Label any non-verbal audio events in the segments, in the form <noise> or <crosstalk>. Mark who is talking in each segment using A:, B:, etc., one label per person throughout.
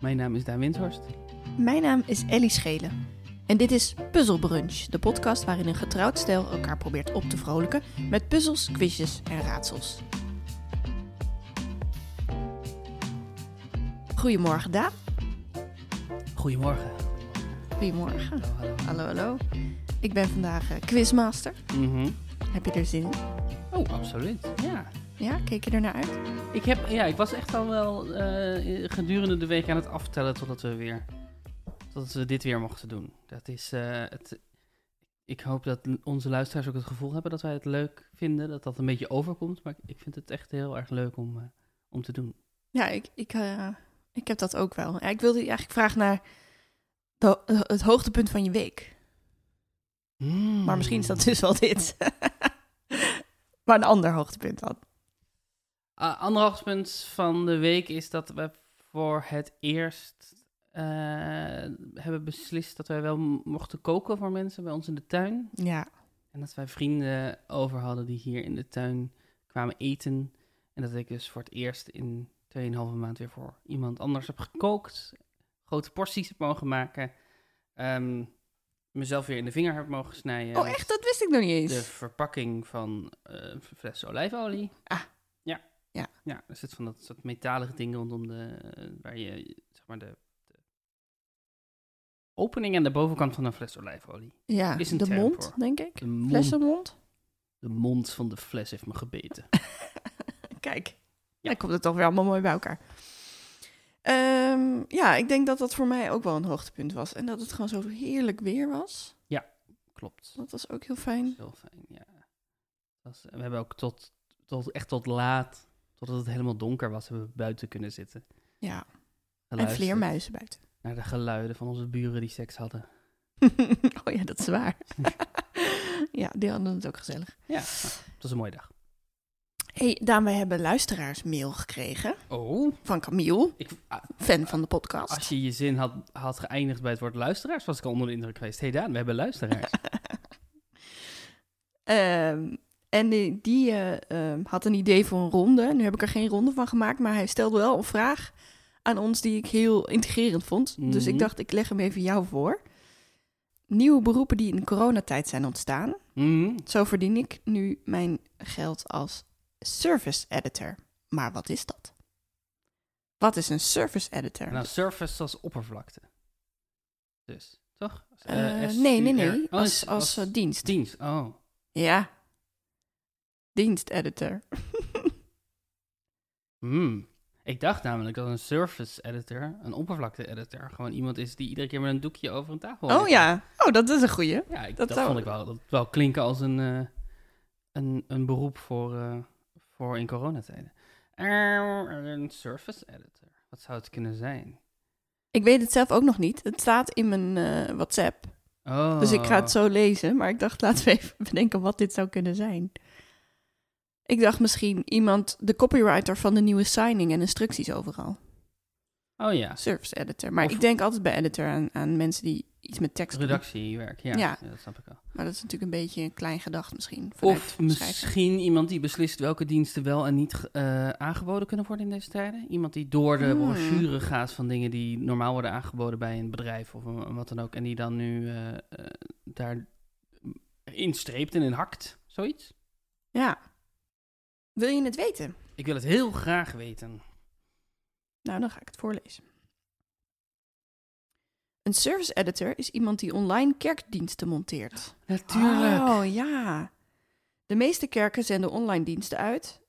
A: Mijn naam is Daan Windhorst.
B: Mijn naam is Ellie Schelen. En dit is Puzzle Brunch, de podcast waarin een getrouwd stijl elkaar probeert op te vrolijken met puzzels, quizjes en raadsels. Goedemorgen Daan.
A: Goedemorgen.
B: Goedemorgen.
A: Hallo, hallo.
B: Hallo, hallo. Ik ben vandaag eh, quizmaster.
A: Mhm.
B: Heb je er zin in?
A: Oh, absoluut. Ja.
B: Ja, keek je er naar uit?
A: Ik, heb, ja, ik was echt al wel eh, gedurende de week aan het aftellen totdat we weer totdat we dit weer mochten doen. Dat is eh, het. Ik hoop dat onze luisteraars ook het gevoel hebben dat wij het leuk vinden, dat dat een beetje overkomt. Maar ik vind het echt heel erg leuk om, eh, om te doen.
B: Ja, ik, ik, eh, ik heb dat ook wel. Ja, ik wilde je eigenlijk vragen naar de- eh, het hoogtepunt van je week. Maar misschien is dat dus wel <laughs> dit. maar een ander hoogtepunt dan.
A: Eh, ander hoogtepunt van de week is dat we voor het eerst eh, hebben beslist dat wij wel m- mochten koken voor mensen bij ons in de tuin.
B: Ja.
A: En dat wij vrienden over hadden die hier in de tuin kwamen eten. En dat ik dus voor het eerst in 2,5 maand weer voor iemand anders heb gekookt. Grote porties heb mogen maken. ehm, mezelf weer in de vinger heb mogen snijden.
B: Oh, echt? Dat wist ik nog niet eens.
A: De verpakking van eh, een fles olijfolie.
B: Ah.
A: Ja.
B: Ja.
A: Ja, er zit van dat, soort metalige ding rondom de... eh, waar je, zeg maar, de, de opening aan de bovenkant van een fles olijfolie.
B: ja,
A: is een
B: de
A: term
B: mond,
A: voor.
B: denk ik.
A: De mond,
B: Flessenmond.
A: de mond van de fles heeft me gebeten.
B: Kijk, dan komt het toch weer allemaal mooi bij elkaar. Ehm, ja, ik denk dat dat voor mij ook wel een hoogtepunt was. En dat het gewoon zo heerlijk weer was.
A: Klopt.
B: Dat was ook heel
A: Dat
B: fijn.
A: is heel fijn, ja. Dat is- en we hebben ook tot, tot, echt tot laat, totdat het helemaal donker was, hebben we buiten kunnen zitten.
B: Ja, en
A: Geluisterd
B: vleermuizen buiten.
A: Naar de geluiden van onze buren die seks hadden.
B: <laughs> oh ja, dat is waar. <laughs> ja, die hadden het ook gezellig. <laughs>
A: Ja, nou, het was een mooie dag.
B: hey, Daan, wij hebben luisteraarsmail gekregen
A: Oh,
B: van Camille,
A: ik, ah,
B: fan van de podcast.
A: als je je zin had, had geëindigd bij het woord luisteraars, was ik al onder de indruk geweest. Hé hey Daan, we hebben
B: <laughs>
A: luisteraars.
B: Ehm, en die, die eh, ehm, had een idee voor een ronde. Nu heb ik er geen ronde van gemaakt, maar hij stelde wel een vraag aan ons die ik heel integrerend vond. Dus
A: Mhm.
B: ik dacht, ik leg hem even jou voor. Nieuwe beroepen die in coronatijd zijn ontstaan.
A: Mhm.
B: Zo verdien ik nu mijn geld als service editor. Maar wat is dat? Wat is een service editor?
A: Nou, surface als oppervlakte. Dus, toch?
B: Eh,
A: Eh,
B: nee, nee,
A: SUR.
B: nee.
A: Oh,
B: Als, als eh, dienst.
A: dienst, oh.
B: Ja. <laughs> Diensteditor.
A: Hmm. Ik dacht namelijk dat een surface editor, een oppervlakte editor, gewoon iemand is die iedere keer met een doekje over een tafel.
B: Oh
A: hangt.
B: ja. Oh, dat is een goeie.
A: Ja, ik- dat,
B: Dat zou-
A: vond ik wel, dat wel klinken als een, eh, een, een beroep voor, eh, voor in coronatijden. Eh, een surface editor. Wat zou het kunnen zijn?
B: Ik weet het zelf ook nog niet. Het staat in mijn eh, WhatsApp.
A: Oh.
B: Dus ik ga het zo lezen. Maar ik dacht, <laughs> laten we even bedenken wat dit zou kunnen zijn. Ik dacht misschien iemand, de copywriter van de nieuwe signing en instructies overal.
A: Oh ja,
B: Service editor. Maar
A: Of-
B: ik denk altijd bij editor aan, aan mensen die iets met tekst doen.
A: redactiewerk. Ja, ja.
B: Ja.
A: dat snap ik wel.
B: Maar dat is natuurlijk een beetje een klein gedacht misschien. vanuit
A: Of
B: schrijver.
A: misschien iemand die beslist welke diensten wel en niet eh, aangeboden kunnen worden in deze tijden. Iemand die door de
B: Hmm.
A: brochure gaat van dingen die normaal worden aangeboden bij een bedrijf of een- wat dan ook. En die dan nu eh, eh, daar instreept en in hakt. Zoiets.
B: Ja. Wil je het weten?
A: Ik wil het heel graag weten.
B: Nou, dan ga ik het voorlezen. Een service editor is iemand die online kerkdiensten monteert.
A: Natuurlijk.
B: Oh ja. De meeste kerken zenden online diensten uit.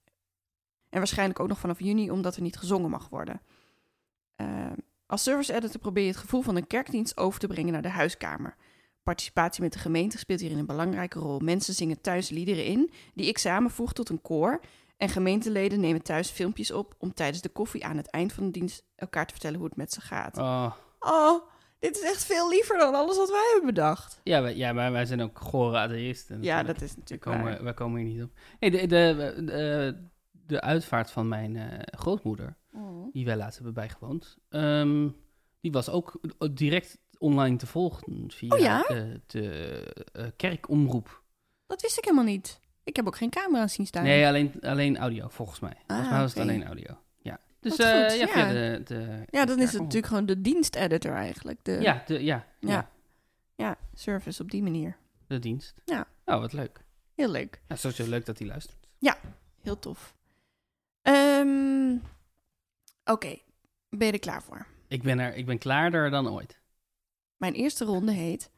B: En waarschijnlijk ook nog vanaf juni, omdat er niet gezongen mag worden. Eh, als service editor probeer je het gevoel van een kerkdienst over te brengen naar de huiskamer. Participatie met de gemeente speelt hierin een belangrijke rol. Mensen zingen thuis liederen in, die ik samenvoeg tot een koor. En gemeenteleden nemen thuis filmpjes op om tijdens de koffie aan het eind van de dienst elkaar te vertellen hoe het met ze gaat.
A: Oh.
B: Oh, dit is echt veel liever dan alles wat wij hebben bedacht.
A: Ja, wij, ja, maar wij zijn ook gore atheïsten.
B: Ja,
A: natuurlijk.
B: dat is natuurlijk
A: Wij
B: waar.
A: komen, wij komen hier niet op. Hey, de, de, de, de uitvaart van mijn eh, grootmoeder.
B: Mm.
A: die wij laatst hebben bijgewoond, ehm, die was ook direct online te volgen via
B: Oh ja?
A: eh, de eh, kerkomroep.
B: Dat wist ik helemaal niet. Ik heb ook geen camera zien staan.
A: Nee, alleen, alleen audio, volgens mij.
B: Ah,
A: volgens mij was
B: oké.
A: het alleen audio. Ja. Dus
B: Wat
A: eh,
B: goed,
A: ja,
B: ja.
A: via de, de...
B: Ja, dan is het
A: Oh.
B: natuurlijk gewoon de diensteditor eigenlijk. De,
A: Ja, de, ja, ja.
B: Ja. ja, service op die manier.
A: de dienst.
B: Ja.
A: Oh, wat leuk.
B: Heel leuk.
A: Ja, sowieso leuk dat hij luistert.
B: Heel tof. Ehm, Oké, ben je er klaar voor?
A: Ik ben, er, ik ben klaarder dan ooit. <gasps>
B: Mijn eerste ronde heet...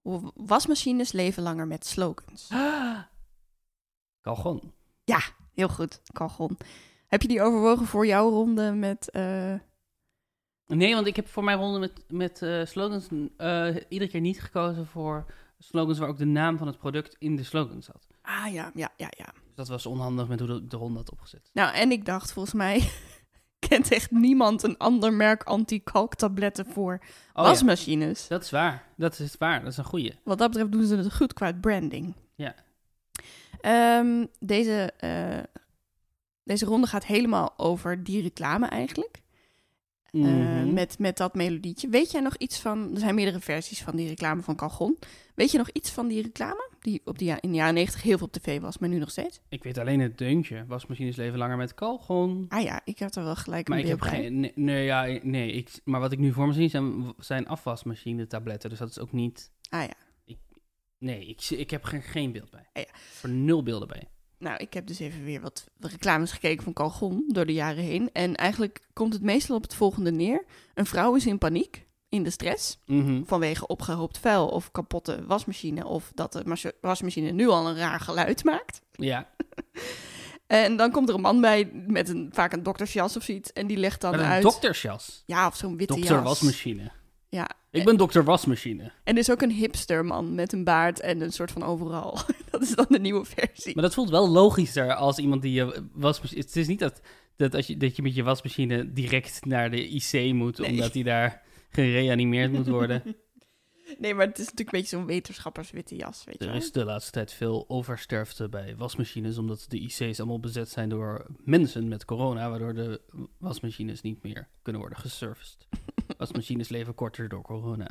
B: "Hoe Wasmachines leven langer met slogans.
A: Calgon.
B: Heel goed, Kalgon. Heb je die overwogen voor jouw ronde met... eh,
A: Nee, want ik heb voor mijn ronde met, met eh, slogans eh, iedere keer niet gekozen voor slogans waar ook de naam van het product in de slogan zat.
B: Ah ja, ja, ja, ja.
A: Dus dat was onhandig met hoe de, de ronde had opgezet.
B: Nou, en ik dacht, volgens mij <laughs> kent echt niemand een ander merk anti-kalktabletten voor
A: Oh ja,
B: wasmachines.
A: dat is waar. Dat is waar. Dat is een goeie.
B: Wat dat betreft doen ze het goed qua branding.
A: Ja.
B: Ehm, deze, eh, deze ronde gaat helemaal over die reclame eigenlijk. Eh,
A: Mhm.
B: met, met dat melodietje. Weet jij nog iets van... Er zijn meerdere versies van die reclame van Calgon. Weet je nog iets van die reclame? Die op de, ja- in de jaren 90 heel veel op tv was, maar nu nog steeds.
A: Ik weet alleen het deuntje. Wasmachines leven langer met Calgon.
B: Ah ja, ik had er wel gelijk
A: Maar
B: een
A: ik heb
B: beeld bij.
A: geen. Nee, nee, ja, nee ik, maar wat ik nu voor me zie zijn, zijn afwasmachine tabletten. Dus dat is ook niet.
B: Ah ja.
A: Ik, nee, ik, zie- ik heb er geen beeld bij.
B: Ah, ja.
A: Voor nul beelden bij.
B: Nou, ik heb dus even weer wat reclames gekeken van Calgon door de jaren heen. En eigenlijk komt het meestal op het volgende neer. Een vrouw is in paniek, in de stress,
A: Mhm.
B: vanwege opgehoopt vuil of kapotte wasmachine. Of dat de mas- wasmachine nu al een raar geluid maakt.
A: Ja,
B: En dan komt er een man bij met een, vaak een doktersjas of zoiets. En die legt dan
A: met een
B: uit...
A: doktersjas.
B: Ja, of zo'n witte
A: Dokter
B: jas.
A: wasmachine.
B: Ja.
A: Ik ben dokter wasmachine.
B: En er is ook een hipsterman met een baard en een soort van overal. <laughs> dat is dan de nieuwe versie.
A: Maar dat voelt wel logischer als iemand die je wasmachine... Het is niet dat, dat, als je, dat je met je wasmachine direct naar de IC moet...
B: Nee.
A: omdat die daar gereanimeerd moet worden.
B: <laughs> Nee, maar het is natuurlijk een beetje zo'n wetenschapperswitte jas, weet je
A: er
B: wel.
A: is de laatste tijd veel oversterfte bij wasmachines... omdat de IC's allemaal bezet zijn door mensen met corona... waardoor de wasmachines niet meer kunnen worden
B: <laughs>
A: geserviced. Wasmachines leven korter door corona.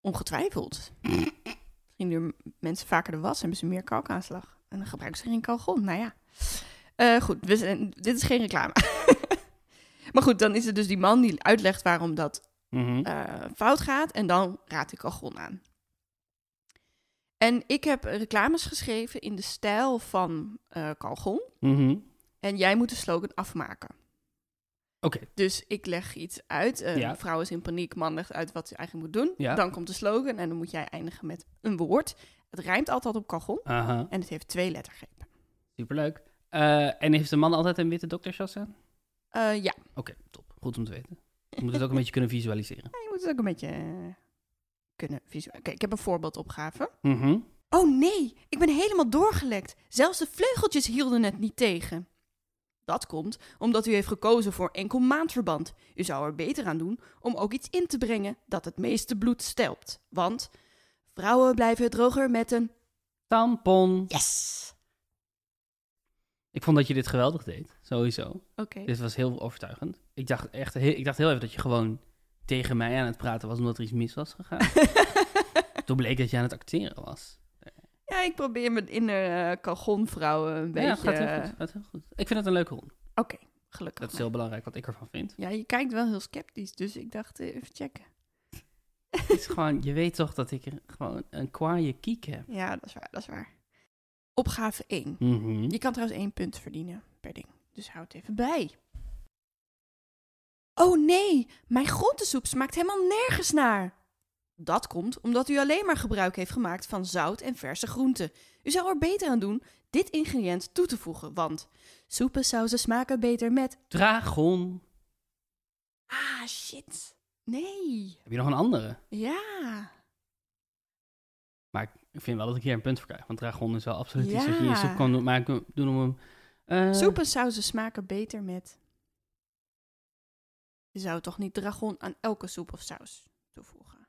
B: Ongetwijfeld. Misschien doen mensen vaker de was, hebben ze meer kalkaanslag. En dan gebruiken ze geen kalgon. Nou ja. Eh, goed, we zijn- dit is geen reclame. <laughs> maar goed, dan is het dus die man die uitlegt waarom dat
A: Mhm.
B: eh, fout gaat. En dan raadt hij kalgon aan. En ik heb reclames geschreven in de stijl van eh kalgon.
A: Mhm.
B: En jij moet de slogan afmaken.
A: Oké.
B: Dus ik leg iets uit. eh,
A: Ja.
B: Een vrouw is in paniek, man legt uit wat ze eigenlijk moet doen.
A: Ja.
B: Dan komt de slogan en dan moet jij eindigen met een woord. Het rijmt altijd op kachon
A: Aha,
B: en het heeft twee lettergrepen.
A: superleuk. Eh, en heeft de man altijd een witte doktersjas aan?
B: Eh, ja,
A: Oké, top. Goed om te weten. Je moet het <laughs>
B: <laughs>
A: ook een beetje kunnen visualiseren.
B: je moet het ook een beetje eh, kunnen visualiseren. Oké, ik heb een voorbeeldopgave.
A: Mhm.
B: Oh nee, ik ben helemaal doorgelekt. Zelfs de vleugeltjes hielden het niet tegen. Dat komt omdat u heeft gekozen voor enkel maandverband. U zou er beter aan doen om ook iets in te brengen dat het meeste bloed stelpt. Want vrouwen blijven droger met een
A: Tampon.
B: yes.
A: Ik vond dat je dit geweldig deed, sowieso.
B: Oké.
A: Dit was heel overtuigend. Ik dacht echt, he- ik dacht heel even dat je gewoon tegen mij aan het praten was omdat er iets mis was <laughs> gegaan. Toen bleek dat je aan het acteren was.
B: <laughs> ja, ik probeer mijn inner eh kalgonvrouwen een beetje... eh,
A: Ja, het gaat heel goed. Gaat heel goed. Ik vind het een leuke hond.
B: Oké, gelukkig.
A: Dat is
B: maar.
A: heel belangrijk wat ik ervan vind.
B: Ja, je kijkt wel heel sceptisch, dus ik dacht eh, even checken.
A: Het is gewoon, je weet toch dat ik er gewoon een kwaaie kiek heb.
B: Ja, dat is waar, dat is waar. Opgave 1.
A: Mhm.
B: Je kan trouwens één punt verdienen per ding. Dus houd het even bij. Oh nee, mijn groentesoep smaakt helemaal nergens naar. Dat komt omdat u alleen maar gebruik heeft gemaakt van zout en verse groenten. U zou er beter aan doen dit ingrediënt toe te voegen, want soepensauzen smaken beter met...
A: Dragon.
B: Ah, shit. Nee.
A: Heb je nog een andere?
B: Ja.
A: Ik vind wel dat ik hier een punt voor krijg. Want dragon is wel absoluut iets wat je in
B: Ja.
A: je soep kan doen, maken, doen om hem... eh,
B: Soepensauzen smaken beter met... Je zou toch niet dragon aan elke soep of saus toevoegen?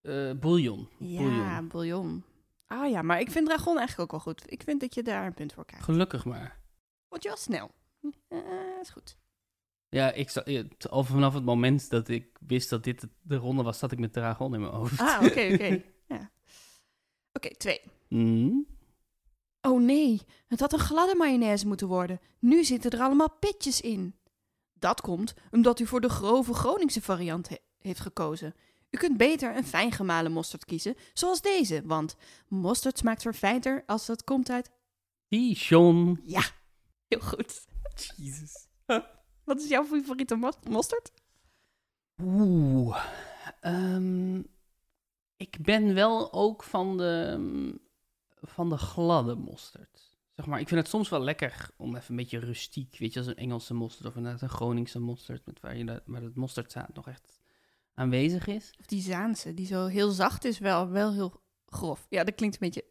A: eh, bouillon.
B: Ja,
A: Bouillon.
B: bouillon. Ah ja, maar ik vind dragon eigenlijk ook wel goed. Ik vind dat je daar een punt voor krijgt.
A: Gelukkig maar.
B: Word je wel snel. Eh, is goed.
A: Ja, ik zat, ja, t- al vanaf het moment dat ik wist dat dit de ronde was, zat ik met Dragon in mijn hoofd.
B: Ah, oké, oké.
A: <laughs>
B: Ja. Oké, twee.
A: Mm.
B: Oh nee, het had een gladde mayonaise moeten worden. Nu zitten er allemaal pitjes in. Dat komt omdat u voor de grove Groningse variant he- heeft gekozen. U kunt beter een fijn gemalen mosterd kiezen, zoals deze, want mosterd smaakt verfijnder als dat komt uit...
A: Dijon.
B: Ja, heel goed.
A: Jesus.
B: Wat is jouw favoriete mos- mosterd?
A: Oeh. Ehm, ik ben wel ook van de, ehm, van de gladde mosterd. Zeg maar, ik vind het soms wel lekker om even een beetje rustiek, weet je, als een Engelse mosterd of inderdaad een Groningse mosterd, met waar, je dat, waar het mosterdzaad nog echt aanwezig is.
B: Of die Zaanse, die zo heel zacht is, wel, wel heel grof. Ja, dat klinkt een beetje...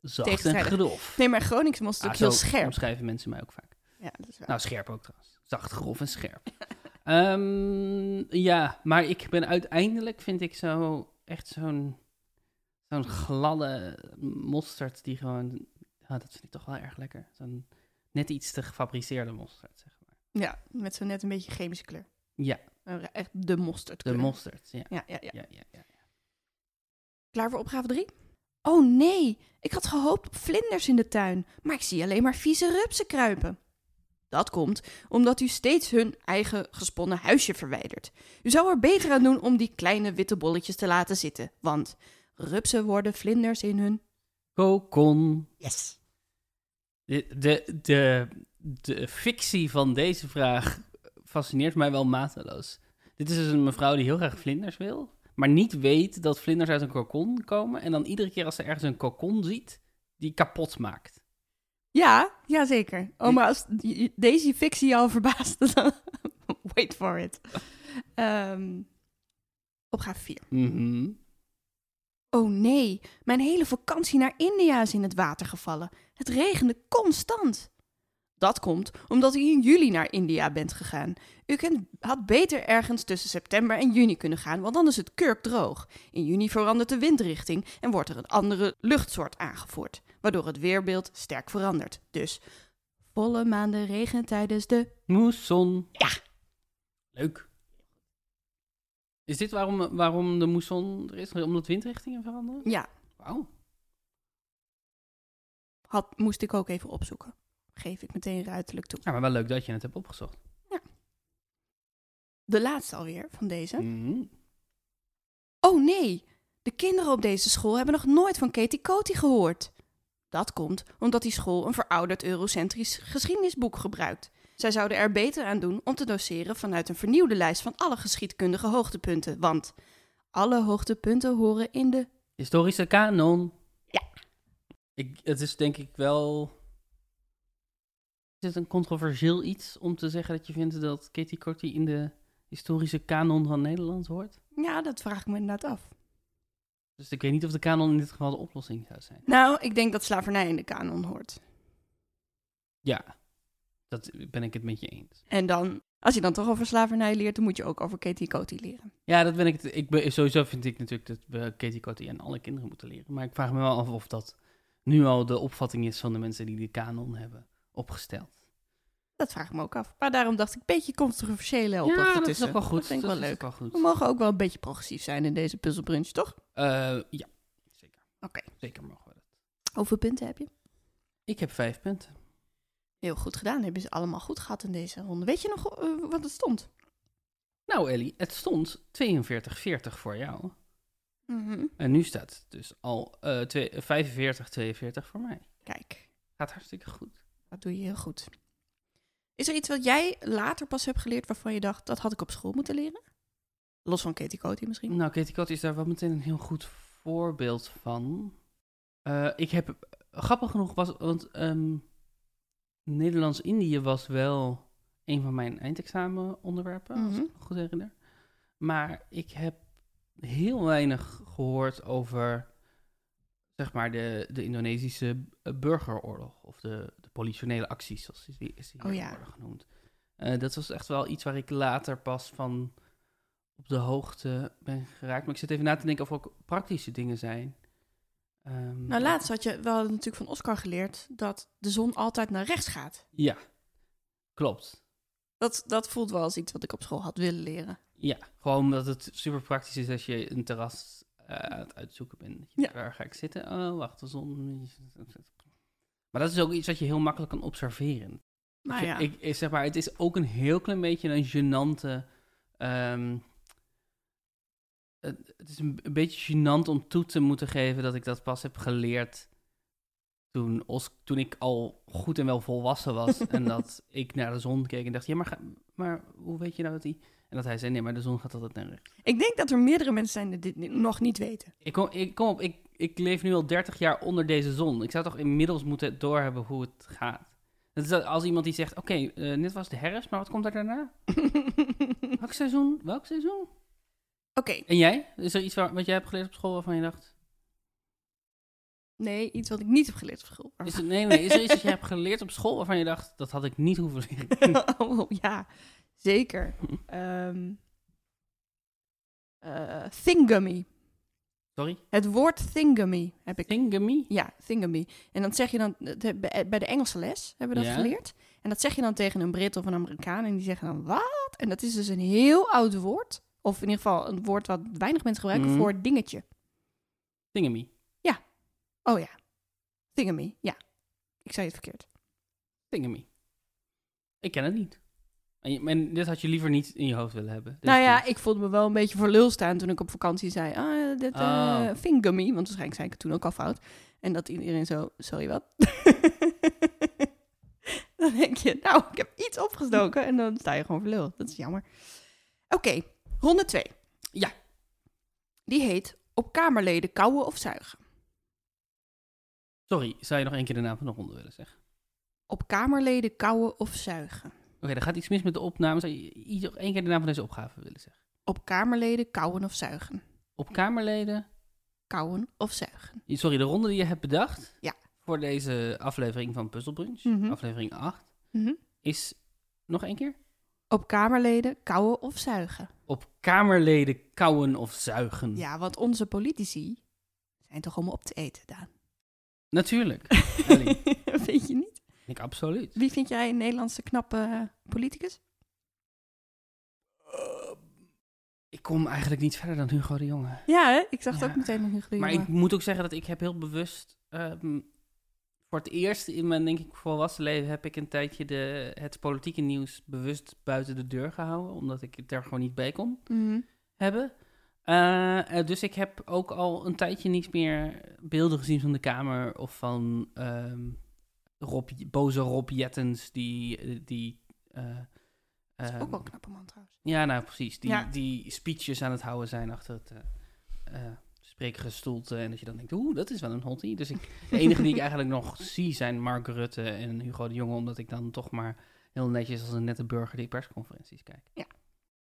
A: Zacht en
B: Tegenstrijdig.
A: grof.
B: Nee, maar Groningse mosterd is
A: Ah,
B: ook heel
A: zo
B: scherp.
A: omschrijven mensen mij ook vaak.
B: Ja, dat is waar.
A: Nou, scherp ook trouwens. Zacht, grof en scherp. <laughs> Ehm, ja, maar ik ben uiteindelijk, vind ik zo echt zo'n zo'n gladde mosterd die gewoon... Ah, dat vind ik toch wel erg lekker. Zo'n net iets te gefabriceerde mosterd, zeg maar.
B: Ja, met zo net een beetje chemische kleur.
A: Ja.
B: Een ra- Echt de mosterd.
A: De mosterd, ja.
B: Ja, ja, ja.
A: Ja, ja, ja.
B: Klaar voor opgave 3? Oh nee, ik had gehoopt op vlinders in de tuin, maar ik zie alleen maar vieze rupsen kruipen. Dat komt omdat u steeds hun eigen gesponnen huisje verwijdert. U zou er beter aan doen om die kleine witte bolletjes te laten zitten, want rupsen worden vlinders in hun.
A: Kokon.
B: Yes.
A: De, de, de, de fictie van deze vraag fascineert mij wel mateloos. Dit is dus een mevrouw die heel graag vlinders wil, maar niet weet dat vlinders uit een kokon komen. En dan iedere keer als ze ergens een kokon ziet, die kapot maakt.
B: Ja, ja zeker. Oh, maar als die- deze fictie jou verbaast, <laughs> dan wait for it. Ehm opgave 4.
A: Mhm.
B: Oh nee, mijn hele vakantie naar India is in het water gevallen. Het regende constant. Dat komt omdat u in juli naar India bent gegaan. U kunt, had beter ergens tussen september en juni kunnen gaan, want dan is het kurk droog. In juni verandert de windrichting en wordt er een andere luchtsoort aangevoerd, waardoor het weerbeeld sterk verandert. Dus volle maanden regen tijdens de.
A: Moesson.
B: Ja.
A: Leuk. Is dit waarom, waarom de moesson er is? Omdat windrichtingen veranderen?
B: Ja,
A: Wauw.
B: had, moest ik ook even opzoeken. Geef ik meteen ruiterlijk toe.
A: Ja, maar wel leuk dat je het hebt opgezocht.
B: De laatste alweer van deze.
A: Mhm.
B: Oh nee, de kinderen op deze school hebben nog nooit van Katie Coty gehoord. Dat komt omdat die school een verouderd eurocentrisch geschiedenisboek gebruikt. Zij zouden er beter aan doen om te doseren vanuit een vernieuwde lijst van alle geschiedkundige hoogtepunten, want alle hoogtepunten horen in de.
A: Historische kanon.
B: Ja.
A: Ik, het is denk ik wel... Is het een controversieel iets om te zeggen dat je vindt dat Katie Corty in de historische kanon van Nederland hoort?
B: Ja, dat vraag ik me inderdaad af.
A: Dus ik weet niet of de kanon in dit geval de oplossing zou zijn.
B: Nou, ik denk dat slavernij in de kanon hoort.
A: Ja, dat ben ik het met je eens.
B: En dan, als je dan toch over slavernij leert, dan moet je ook over Katie Coty leren.
A: Ja, dat ben ik. het- Ik ben, sowieso vind ik natuurlijk dat we Katie Corty en alle kinderen moeten leren. Maar ik vraag me wel af of dat nu al de opvatting is van de mensen die de kanon hebben opgesteld.
B: Dat vraag ik me ook af. Maar daarom dacht ik, een beetje controversiële opdracht
A: ja, dat is
B: ertussen.
A: ook wel goed.
B: Dat vind ik wel leuk.
A: is ook wel goed.
B: We mogen ook wel een beetje progressief zijn in deze puzzelbrunch, toch?
A: Eh, ja, zeker.
B: Oké.
A: Zeker mogen we dat.
B: Hoeveel punten heb je?
A: Ik heb vijf punten.
B: Heel goed gedaan. Hebben ze allemaal goed gehad in deze ronde. Weet je nog eh, wat het stond?
A: Nou Ellie, het stond 42-40 voor jou.
B: Mhm.
A: En nu staat het dus al eh, twee- 45-42 voor mij.
B: Kijk,
A: Gaat hartstikke goed.
B: dat doe je heel goed. Is er iets wat jij later pas hebt geleerd waarvan je dacht, dat had ik op school moeten leren? Los van Katie Coty misschien.
A: Nou, Katie Kat is daar wel meteen een heel goed voorbeeld van. Eh, ik heb, grappig genoeg was, want ehm, Nederlands-Indië was wel een van mijn eindexamenonderwerpen, als
B: Mhm.
A: ik me goed herinner. Maar ik heb heel weinig gehoord over, zeg maar, de, de Indonesische eh, burgeroorlog. Of de, de politionele acties, zoals die, is die
B: Oh
A: hier
B: ja.
A: worden genoemd. Eh, dat was echt wel iets waar ik later pas van op de hoogte ben geraakt. Maar ik zit even na te denken of er ook praktische dingen zijn. Ehm,
B: Nou, laatst had je wel natuurlijk van Oscar geleerd dat de zon altijd naar rechts gaat.
A: Ja, klopt.
B: Dat, dat voelt wel als iets wat ik op school had willen leren.
A: Ja, gewoon omdat het super praktisch is als je een terras eh, aan het uitzoeken bent. Dat je,
B: Ja.
A: Waar ga ik zitten? Oh, wacht, de zon. Maar dat is ook iets wat je heel makkelijk kan observeren.
B: Nou ja,
A: Ik, ik- zeg maar, het is ook een heel klein beetje een gênante... ehm, het, het is een, een beetje gênant om toe te moeten geven dat ik dat pas heb geleerd toen, Os, toen ik al goed en wel volwassen
B: <laughs>
A: was. en dat ik naar de zon keek en dacht, ja, maar, ga- maar hoe weet je nou dat die... En dat hij zei, nee, maar de zon gaat altijd naar rechts.
B: ik denk dat er meerdere mensen zijn die dit ni- nog niet weten. <laughs>
A: Ik kom, ik, kom op, ik, ik leef nu al 30 jaar onder deze zon. Ik zou toch inmiddels moeten doorhebben hoe het gaat. Dat is dat als iemand die zegt, oké, eh, dit was de herfst, maar wat komt er daarna?
B: Oké,
A: Welk seizoen? Welk seizoen? En jij? Is er iets waar- wat jij hebt geleerd op school waarvan je dacht...
B: nee, iets wat ik niet heb geleerd op school.
A: Is het, nee, nee, is er iets dat je hebt geleerd op school waarvan je dacht, dat had ik niet hoeven leren? <laughs>
B: <laughs> oh, ja, zeker. Ehm eh, thingummy.
A: Sorry?
B: Het woord thingummy heb ik.
A: Thingamy?
B: Ja, thingummy. En dat zeg je dan de- bij bij de Engelse les hebben we dat
A: Ja.
B: geleerd. En dat zeg je dan tegen een Brit of een Amerikaan en die zeggen dan wat? En dat is dus een heel oud woord. Of in ieder geval een woord wat weinig mensen gebruiken
A: Mhm.
B: voor dingetje.
A: Thingamy.
B: Oh ja, thingummy. Ja, ik zei het verkeerd.
A: Thingamy. Ik ken het niet. En, je- en dit had je liever niet in je hoofd willen hebben. Dus
B: nou ja,
A: die-
B: ik voelde me wel een beetje voor lul staan toen ik op vakantie zei... Ah, dit eh
A: Oh.
B: thingummy, want waarschijnlijk zei ik het toen ook al fout. En dat iedereen zo, sorry wat? <laughs> dan denk je, nou, ik heb iets opgestoken en dan sta je gewoon voor lul. Dat is jammer. Oké, ronde twee.
A: Ja.
B: Die heet op kamerleden kauwen of zuigen.
A: Sorry, zou je nog één keer de naam van de ronde willen zeggen?
B: Op kamerleden kauwen of zuigen.
A: Oké, er gaat iets mis met de opname. Zou je ieder één keer de naam van deze opgave willen zeggen?
B: Op kamerleden kauwen of zuigen.
A: Op Kamerleden.
B: Kauwen of zuigen.
A: Sorry, de ronde die je hebt bedacht.
B: Ja.
A: Voor deze aflevering van Puzzle Brunch,
B: Mhm.
A: aflevering 8,
B: Mhm.
A: is nog één keer.
B: Op kamerleden kauwen of zuigen.
A: Op Kamerleden kauwen of zuigen.
B: Ja, want onze politici zijn toch allemaal op te eten, Daan?
A: Natuurlijk. Ellie.
B: <laughs> Vind je niet?
A: Ik absoluut.
B: Wie vind jij een Nederlandse knappe politicus?
A: Ik kom eigenlijk niet verder dan Hugo de Jonge.
B: Ja, hè? ik zag het
A: Ja.
B: ook meteen nog niet
A: Maar ik moet ook zeggen dat ik heb heel bewust... ehm, voor het eerst in mijn, denk ik, volwassen leven... heb ik een tijdje de, het politieke nieuws bewust buiten de deur gehouden. Omdat ik daar gewoon niet bij kon
B: Mhm.
A: hebben. Eh, eh, dus ik heb ook al een tijdje niets meer beelden gezien van de Kamer... of van ehm, Rob, boze Rob Jettens die... die eh, ehm,
B: ook wel een knappe man trouwens.
A: ja, nou precies. Die,
B: Ja.
A: die speeches aan het houden zijn achter het eh, eh, spreekgestoelte. En dat je dan denkt, oeh, dat is wel een hottie. Dus ik, de enige
B: <laughs>
A: die ik eigenlijk nog zie zijn Mark Rutte en Hugo de Jonge. Omdat ik dan toch maar heel netjes als een nette burger die persconferenties kijk.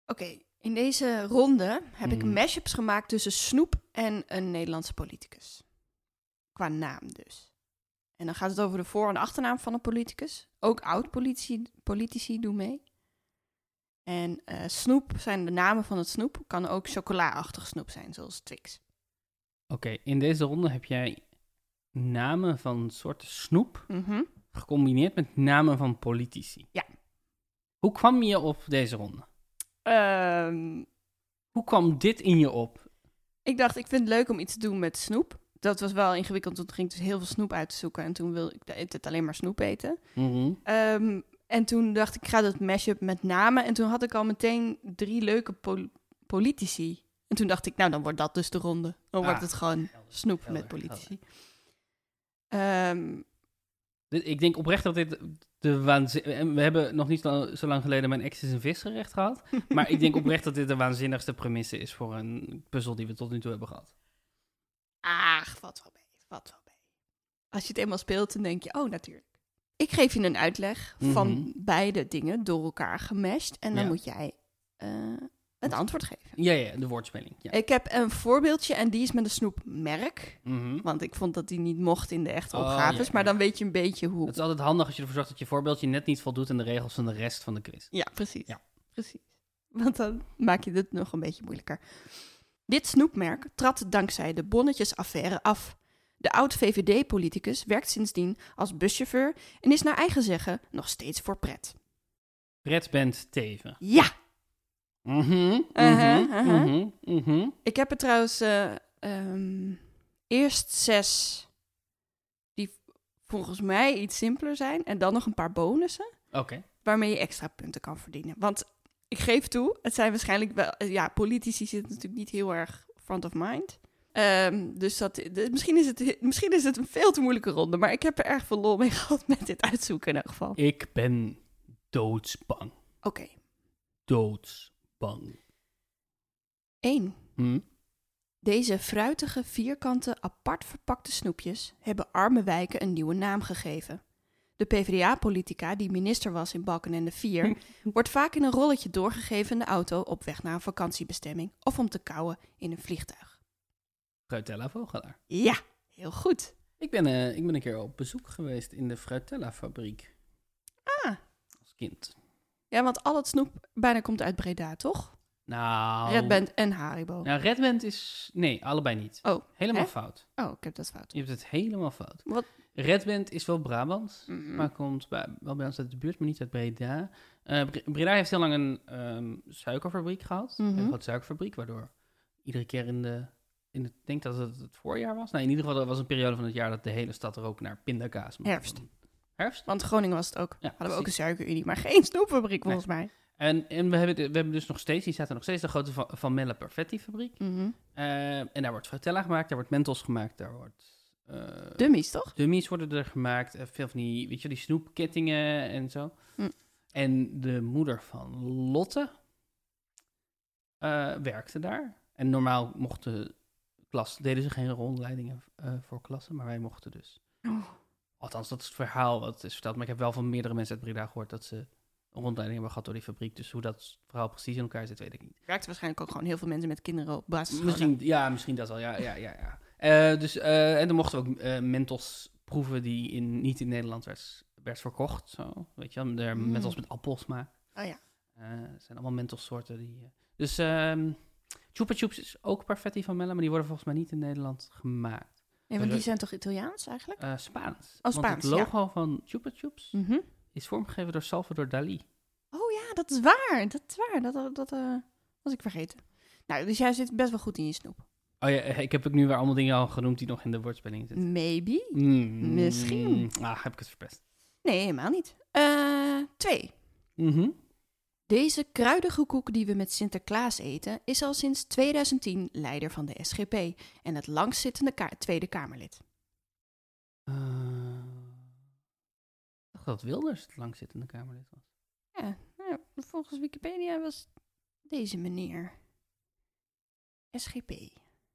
B: Oké, in deze ronde heb ik
A: Mhm.
B: mashups gemaakt tussen Snoep en een Nederlandse politicus. Qua naam dus. En dan gaat het over de voor- en achternaam van een politicus. Ook oud-politici politici doen mee. En eh, Snoep zijn de namen van het snoep. Kan ook chocola-achtig snoep zijn, zoals Twix.
A: Oké, in deze ronde heb jij namen van soorten snoep
B: Mhm.
A: gecombineerd met namen van politici.
B: Ja.
A: Hoe kwam je op deze ronde?
B: Ehm,
A: Hoe kwam dit in je op?
B: ik dacht, ik vind het leuk om iets te doen met snoep. Dat was wel ingewikkeld, want toen ging ik dus heel veel snoep uitzoeken. En toen wilde ik de hele tijd alleen maar snoep eten.
A: Mhm.
B: Ehm, en toen dacht ik, ik ga dat mashup met namen. En toen had ik al meteen drie leuke pol- politici. En toen dacht ik, nou, dan wordt dat dus de ronde. Dan wordt
A: Ah,
B: het gewoon
A: helder,
B: snoep
A: helder,
B: met politici. Ehm,
A: Dit- Ik denk oprecht dat dit de waanzin... en We hebben nog niet zo zo lang geleden mijn ex is een visgerecht gehad. <laughs> Maar
B: <laughs>
A: ik denk oprecht dat dit de waanzinnigste premisse is voor een puzzel die we tot nu toe hebben gehad.
B: Ach, wat wel mee, wat wel mee. Als je het eenmaal speelt, dan denk je, oh, natuurlijk. Ik geef je een uitleg
A: Mhm.
B: van beide dingen door elkaar gemeshed. En dan
A: Ja.
B: moet jij eh, het antwoord geven.
A: Ja, ja, de woordspeling. Ja.
B: Ik heb een voorbeeldje en die is met een snoepmerk.
A: Mhm.
B: Want ik vond dat die niet mocht in de echte
A: Oh,
B: opgaves.
A: ja,
B: maar
A: ja.
B: dan weet je een beetje hoe.
A: Het is altijd handig als je ervoor zorgt dat je voorbeeldje net niet voldoet aan de regels van de rest van de quiz.
B: Ja, precies.
A: Ja.
B: precies. Want dan maak je dit nog een beetje moeilijker. Dit snoepmerk trad dankzij de bonnetjesaffaire af. De oud-VVD-politicus werkt sindsdien als buschauffeur en is naar eigen zeggen nog steeds voor pret.
A: Red bent teven.
B: Ja!
A: Mhm,
B: Aha,
A: mhm,
B: aha.
A: mhm, mhm.
B: Ik heb er trouwens eh, ehm, eerst zes die volgens mij iets simpeler zijn en dan nog een paar bonussen.
A: Oké.
B: waarmee je extra punten kan verdienen. Want ik geef toe, het zijn waarschijnlijk wel... eh, Ja, politici zitten natuurlijk niet heel erg front of mind. Ehm, dus dat, de- misschien, is het, he- misschien is het een veel te moeilijke ronde, maar ik heb er erg veel lol mee <laughs> gehad met dit uitzoeken in elk geval. Oké,
A: Ik ben doodsbang. Doodsbang.
B: één.
A: Hm?
B: Deze fruitige, vierkante, apart verpakte snoepjes hebben arme wijken een nieuwe naam gegeven. De PvdA-politica, die minister was in Balkenende
A: <laughs>
B: 4, wordt vaak in een rolletje doorgegeven in de auto op weg naar een vakantiebestemming of om te kouwen in een vliegtuig.
A: Fruitella Vogelaar.
B: Ja, heel goed.
A: Ik ben, eh, ik ben een keer op bezoek geweest in de Fruitella fabriek
B: Ah,
A: als kind.
B: ja, want al het snoep bijna komt uit Breda, toch?
A: Nou.
B: Red Band en Haribo.
A: Nou, Red Band is. Nee, allebei niet.
B: Oh,
A: Helemaal
B: hè?
A: fout.
B: oh, ik heb dat fout.
A: Je hebt het helemaal fout.
B: Wat?
A: Red Band is wel Brabant.
B: Mhm.
A: Maar komt bij, wel bij ons uit de buurt, maar niet uit Breda. Eh, Bre- Breda heeft heel lang een ehm, suikerfabriek gehad.
B: Mhm.
A: Een grote suikerfabriek, waardoor iedere keer in de... In de ik denk dat het het voorjaar was. Nou, in ieder geval, dat was een periode van het jaar dat de hele stad rook naar pindakaas. Maar
B: Herfst.
A: dan- Herfst?
B: Want Groningen was het ook.
A: Ja,
B: Hadden we ook een
A: precies.
B: suikerunie, maar geen snoepfabriek volgens mij.
A: En, en we, hebben, de- we hebben dus nog steeds, die staat er nog steeds, de grote Van, van Melle Perfetti fabriek.
B: Mhm.
A: Eh, en daar wordt Frutella gemaakt, daar wordt Mentos gemaakt, daar wordt... eh,
B: Dummies, toch?
A: Dummies worden er gemaakt. eh, Veel van die, weet je, wel, die snoepkettingen en zo.
B: Hm.
A: En de moeder van Lotte eh, werkte daar. En normaal mochten klas, deden ze geen rondleidingen eh, voor klassen, maar wij mochten dus.
B: Oh.
A: Althans, dat is het verhaal wat is verteld. Maar ik heb wel van meerdere mensen uit Breda gehoord dat ze een rondleiding hebben gehad door die fabriek. Dus hoe dat verhaal precies in elkaar zit, weet ik niet.
B: raakt waarschijnlijk ook gewoon heel veel mensen met kinderen op basis.
A: Misschien, ja, misschien dat al. Ja, ja, ja. ja. Eh, dus, eh, en dan mochten we ook eh, mentos proeven die in, niet in Nederland werd, werd verkocht. Zo, weet je wel, de
B: Mm.
A: mentos met appelsmaak.
B: Oh ja.
A: Eh, het zijn allemaal mentossoorten. Die, eh, dus ehm Chupa Chups is ook perfetti van Mella, maar die worden volgens mij niet in Nederland gemaakt.
B: Nee, want die zijn toch Italiaans eigenlijk?
A: Eh, Spaans. Want
B: Oh, Spaans,
A: het
B: ja. Mm.
A: logo van Chupa Chups is vormgegeven door Salvador Dali.
B: Oh ja, dat is waar. Dat is waar. Dat, dat, dat eh, was ik vergeten. Nou, dus jij zit best wel goed in je snoep.
A: Oh ja, eh, ik heb ook nu weer allemaal dingen al genoemd die nog in de woordspelling zitten.
B: Maybe.
A: Mm.
B: Misschien.
A: Ah, heb ik het verpest.
B: Nee, helemaal niet. Eh, twee.
A: Mhm.
B: Deze kruidige koek die we met Sinterklaas eten is al sinds 2010 leider van de SGP en het langstzittende ka- Tweede Kamerlid.
A: Eh, Ik dacht dat Wilders het langzittende Kamerlid was.
B: Ja, nou, volgens Wikipedia was deze meneer SGP.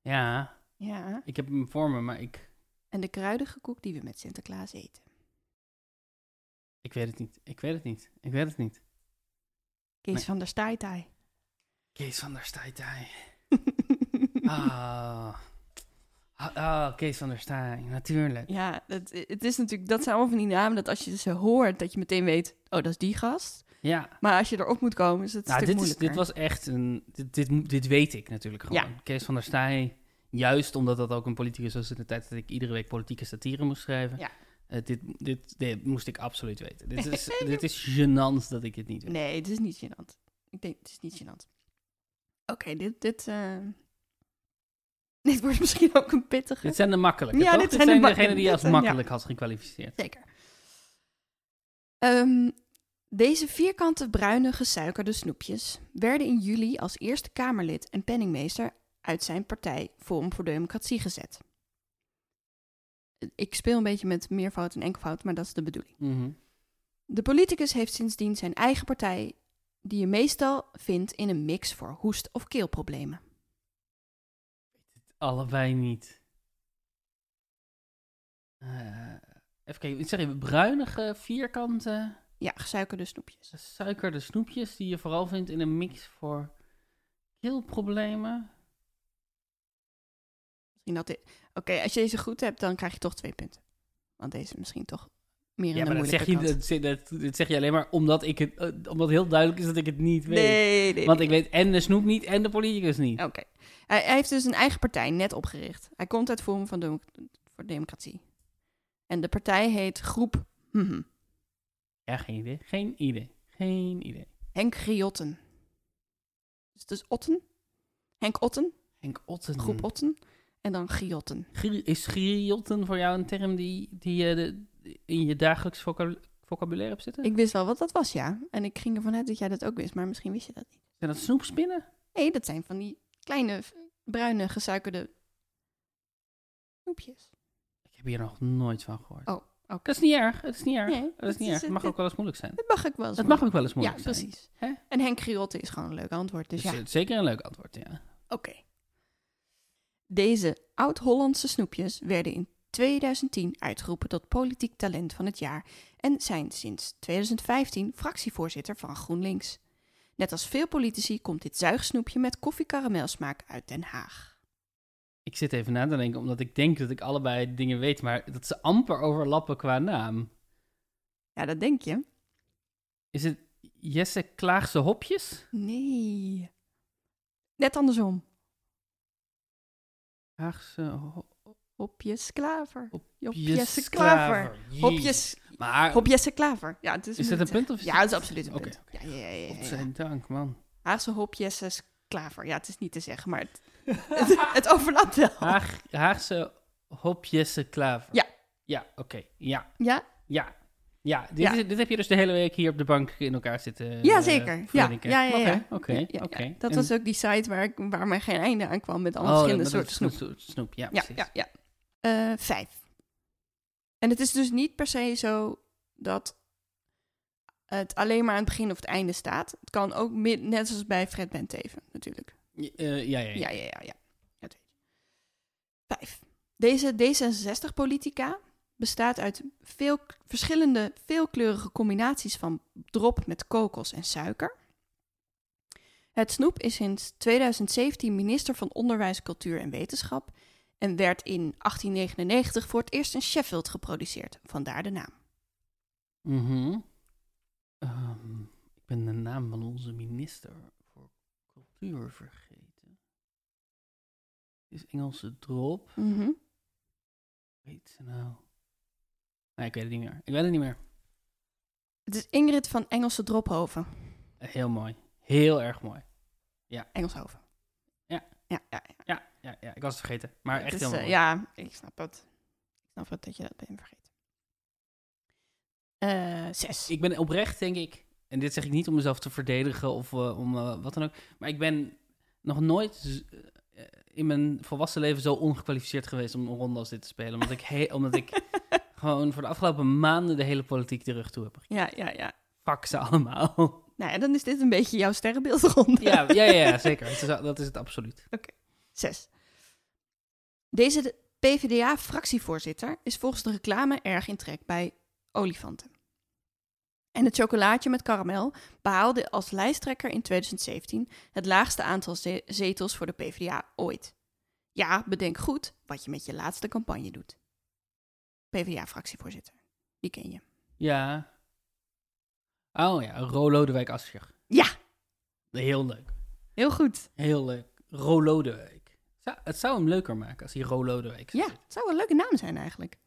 A: Ja,
B: Ja.
A: ik heb hem voor me, maar ik,
B: En de kruidige koek die we met Sinterklaas eten.
A: ik weet het niet. Ik weet het niet. Ik weet het niet.
B: Kees
A: Nee.
B: van der Staaitaai.
A: Kees van der Staaij. Ah. <laughs> Ah, ah, Kees van der Staaij, natuurlijk.
B: Ja, het, het is natuurlijk, dat zijn allemaal van die namen dat als je ze hoort, dat je meteen weet, oh, dat is die gast.
A: Ja,
B: Maar als je erop moet komen, is het een
A: nou,
B: stuk
A: dit, is,
B: moeilijker.
A: dit was echt een. Dit, dit, mo- dit weet ik natuurlijk gewoon. Kees van der Staaij, juist omdat dat ook een politicus was in de tijd dat ik iedere week politieke satire moest schrijven.
B: Ja.
A: eh, dit, dit, dit moest ik absoluut weten. <laughs> Dit is, dit is gênant dat ik het niet weet.
B: Nee, het is niet gênant. Ik denk, het is niet gênant. Oké, dit, dit, eh, <laughs> dit wordt misschien ook een pittige.
A: Dit zijn de makkelijke,
B: Ja,
A: toch?
B: dit
A: Dit,
B: zijn de
A: zijn,
B: mak-
A: degenen die
B: dit
A: als
B: zijn-
A: makkelijk had gekwalificeerd.
B: Zeker. Ehm, deze vierkante bruine gesuikerde snoepjes werden in juli als eerste Kamerlid en penningmeester uit zijn partij Forum voor Democratie gezet. Ik speel een beetje met meervoud en enkelvoud, maar dat is de bedoeling. De politicus heeft sindsdien zijn eigen partij, die je meestal vindt in een mix voor hoest- of keelproblemen.
A: Allebei niet. Eh, even kijken, zeg je bruinige, vierkante,
B: Ja, gesuikerde snoepjes.
A: suikerde snoepjes die je vooral vindt in een mix voor keelproblemen.
B: Misschien dat dit... Oké, als je deze goed hebt, dan krijg je toch twee punten. Want deze misschien toch meer in
A: Ja,
B: de
A: maar dat
B: moeilijke
A: zeg, je,
B: kant.
A: dat, zeg- dat, dat zeg je alleen maar omdat, ik het, eh, omdat heel duidelijk is dat ik het niet weet.
B: Nee, nee. Oh.
A: Want
B: nee.
A: ik weet en de snoep niet en de politicus niet.
B: Oké. Hij, hij heeft dus een eigen partij net opgericht. Hij komt uit Forum van Demo- voor Democratie. En de partij heet Groep mhm.
A: Ja, geen idee. Geen idee. Geen idee.
B: Henk Griotten. Dus het is Otten. Henk Otten,
A: Henk Otten.
B: Groep Otten. En dan Griotten.
A: eh, Gri- Is griotten voor jou een term die, die je de- in je dagelijks voca- vocabulaire op zitten?
B: Ik wist wel wat dat was, ja. En ik ging ervan uit dat jij dat ook wist, maar misschien wist je dat niet.
A: Zijn dat snoepspinnen?
B: Nee, dat zijn van die kleine v- bruine gesuikerde snoepjes.
A: Ik heb hier nog nooit van gehoord.
B: Oh, oké.
A: Dat is niet erg. Dat is niet erg.
B: Nee,
A: dat is niet erg. Het mag ook wel eens moeilijk zijn.
B: Dat mag ik wel.
A: Het mag ook wel eens
B: Ja,
A: moeilijk zijn.
B: precies.
A: Hè?
B: En Henk Griotte is gewoon een leuk antwoord, dus
A: Dus
B: ja.
A: eh, zeker een leuk antwoord, ja.
B: Oké. Deze oud-Hollandse snoepjes werden in 2010 uitgeroepen tot politiek talent van het jaar en zijn sinds 2015 fractievoorzitter van GroenLinks. Net als veel politici komt dit zuigsnoepje met koffiekaramelsmaak uit Den Haag.
A: Ik zit even na te denken, omdat ik denk dat ik allebei dingen weet, maar dat ze amper overlappen qua naam.
B: Ja, dat denk je.
A: Is het Jesse Klaagse Hopjes?
B: Nee. Net andersom.
A: Klaagse Ho-
B: Hopjes klaver.
A: Hopjes
B: Hopjes klaver.
A: Jeez.
B: Hopjes,
A: Maar,
B: hopjes klaver. Ja, het is,
A: is dat een
B: moeite.
A: punt of is
B: Ja, het is absoluut een
A: Oké,
B: punt.
A: oké.
B: Ja, ja, ja, ja, ja.
A: dank, man.
B: Haagse hopjes is klaver. Ja, het is niet te zeggen,
A: <laughs>
B: maar het, het, het overlapt wel.
A: Haag, Haagse Hopjesse Klaver.
B: Ja.
A: Ja, oké. Ja,
B: Ja,
A: ja. Ja, dit,
B: Ja.
A: Is, dit heb je dus de hele week hier op de bank in elkaar zitten.
B: ja
A: eh,
B: zeker. Ja,
A: verlinken.
B: ja, ja.
A: Oké,
B: ja.
A: oké,
B: Ja, ja, ja.
A: oké.
B: Dat
A: En-
B: was ook die site waar, ik, waar mij geen einde aan kwam met alle
A: Oh,
B: verschillende
A: dat- dat
B: soorten
A: is
B: snoep.
A: een soort snoep. Ja,
B: Ja,
A: precies.
B: ja, ja. Eh, vijf. En het is dus niet per se zo dat het alleen maar aan het begin of het einde staat. Het kan ook mid- net zoals bij Fred Benteven natuurlijk.
A: Eh, ja, ja, ja.
B: Ja, ja, ja, ja. Dat weet je. Vijf. Deze D66-politica bestaat uit veel k- verschillende, veelkleurige combinaties van drop met kokos en suiker. Het snoep is sinds 2017 minister van Onderwijs, Cultuur en Wetenschap en werd in 1899 voor het eerst in Sheffield geproduceerd, vandaar de naam.
A: Mhm. Ehm, ik ben de naam van onze minister voor cultuur vergeten. Het is Engelse drop. Hoe heet ze nou? Nee, ik weet het niet meer. Ik weet het niet meer.
B: Het is Ingrid van Engelse Drophoven.
A: Eh, Heel mooi. Heel erg mooi.
B: Engelshoven.
A: Ja.
B: Ja, ja, ja.
A: Ja, ja, ja ik was het vergeten. Maar
B: Het
A: echt
B: is,
A: heel
B: eh,
A: mooi.
B: ja, ik snap het. Ik snap het dat je dat bent vergeten. Eh, zes.
A: Ik ben oprecht, denk ik. En dit zeg ik niet om mezelf te verdedigen of eh, om eh, wat dan ook. Maar ik ben nog nooit z- eh, in mijn volwassen leven zo ongekwalificeerd geweest om een ronde als dit te spelen. Omdat ik, he- omdat
B: <laughs>
A: ik gewoon voor de afgelopen maanden de hele politiek de rug toe heb.
B: Ja, ja, ja.
A: Fuck ze
B: <laughs>
A: allemaal.
B: Nou ja, dan is dit een beetje jouw sterrenbeeldronde.
A: ja, ja, ja, ja, zeker. Het is al- dat is het absoluut.
B: Zes. Deze de- PvdA-fractievoorzitter is volgens de reclame erg in trek bij olifanten. En het chocolaatje met karamel behaalde als lijsttrekker in 2017 het laagste aantal ze- zetels voor de PvdA ooit. Ja, bedenk goed wat je met je laatste campagne doet. PvdA-fractievoorzitter, die ken je.
A: Ja. Oh ja, Ro Lodewijk Asscher.
B: Ja.
A: Heel leuk.
B: Heel goed.
A: Heel leuk. Ro Lodewijk. Zou- het zou hem leuker maken als hij Ro Lodewijk zou
B: Ja,
A: zitten.
B: het zou wel een leuke naam zijn eigenlijk.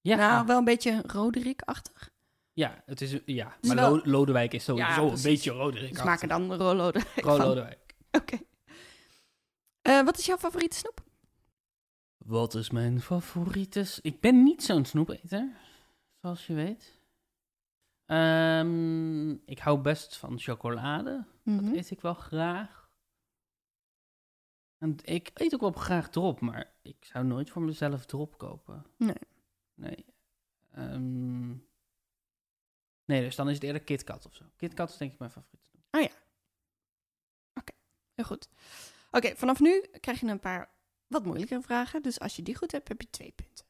A: Ja. Ah,
B: Nou, wel een beetje Roderick-achtig.
A: Ja, het is, ja.
B: is
A: maar
B: Dus wel-
A: Lo- Lodewijk is sowieso
B: Ja,
A: een
B: precies.
A: beetje Roderick.
B: Dus maken dan <laughs> Rollo de
A: Pro Lodewijk.
B: <laughs> Oké. Eh, wat is jouw favoriete snoep?
A: Wat is mijn favoriete... s- Ik ben niet zo'n snoepeter, zoals je weet. Ehm, ik hou best van chocolade.
B: Hm?
A: Dat eet ik wel graag. En ik eet ook wel graag drop, maar ik zou nooit voor mezelf drop kopen.
B: Nee.
A: Nee. Ehm, nee, dus dan is het eerder KitKat of zo. KitKat is denk ik mijn favoriet.
B: Heel goed. Oké, vanaf nu krijg je een paar wat moeilijkere vragen. Dus als je die goed hebt, heb je twee punten.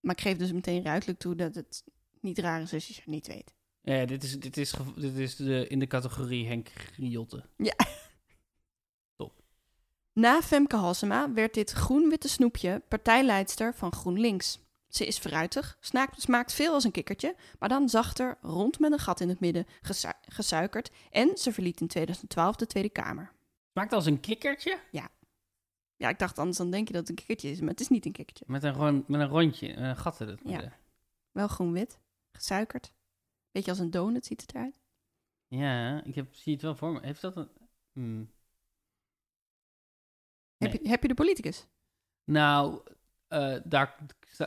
B: Maar ik geef dus meteen ruidelijk toe dat het niet raar is als je het niet weet.
A: Ja, dit is, dit is, gev- dit is de, in de categorie Henk Griotte.
B: Na Femke Halsema werd dit groen-witte snoepje partijleidster van GroenLinks. Ze is fruitig, snaakt, smaakt veel als een kikkertje, maar dan zachter, rond met een gat in het midden, gesu- gesuikerd en ze verliet in 2012 de Tweede Kamer.
A: Maakt als een kikkertje?
B: Ja, ik dacht anders dan denk je dat het een kikkertje is, maar het is niet een kikkertje.
A: Met een, ron- met een rondje, met een gat in het
B: Ja.
A: midden.
B: Wel groen-wit, gesuikerd. Beetje als een donut ziet het eruit.
A: Ja, ik heb, zie het wel voor me. Heeft dat een... hmm.
B: Heb, je, heb je de politicus?
A: Nou, eh, daar,